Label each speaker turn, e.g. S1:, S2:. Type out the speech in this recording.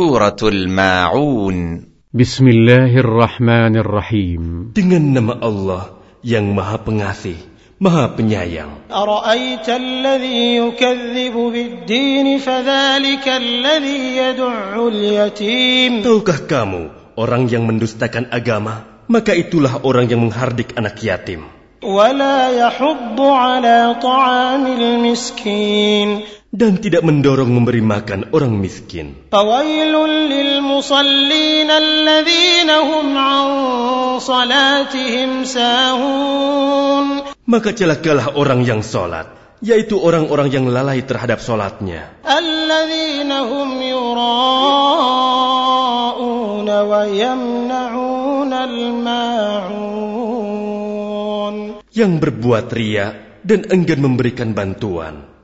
S1: Suratul Ma'un
S2: بسم الله الرحمن الرحيم
S3: Dengan nama Allah yang maha pengasih, maha penyayang.
S4: أرأيت الذي يكذب بالدين فذلك الذي يدع اليتيم
S3: Tahukah kamu orang yang mendustakan agama? Maka itulah orang yang menghardik anak yatim.
S4: ولا يحض على طعام المسكين
S3: Dan tidak mendorong memberi makan orang miskin.
S4: فويل للمصلين الذين هم عن صلاتهم ساهون
S3: Maka celakalah orang yang sholat, yaitu orang-orang yang lalai terhadap sholatnya.
S4: الذين هم يراءون ويمنعون الماعون
S3: Yang berbuat ria dan enggan memberikan bantuan.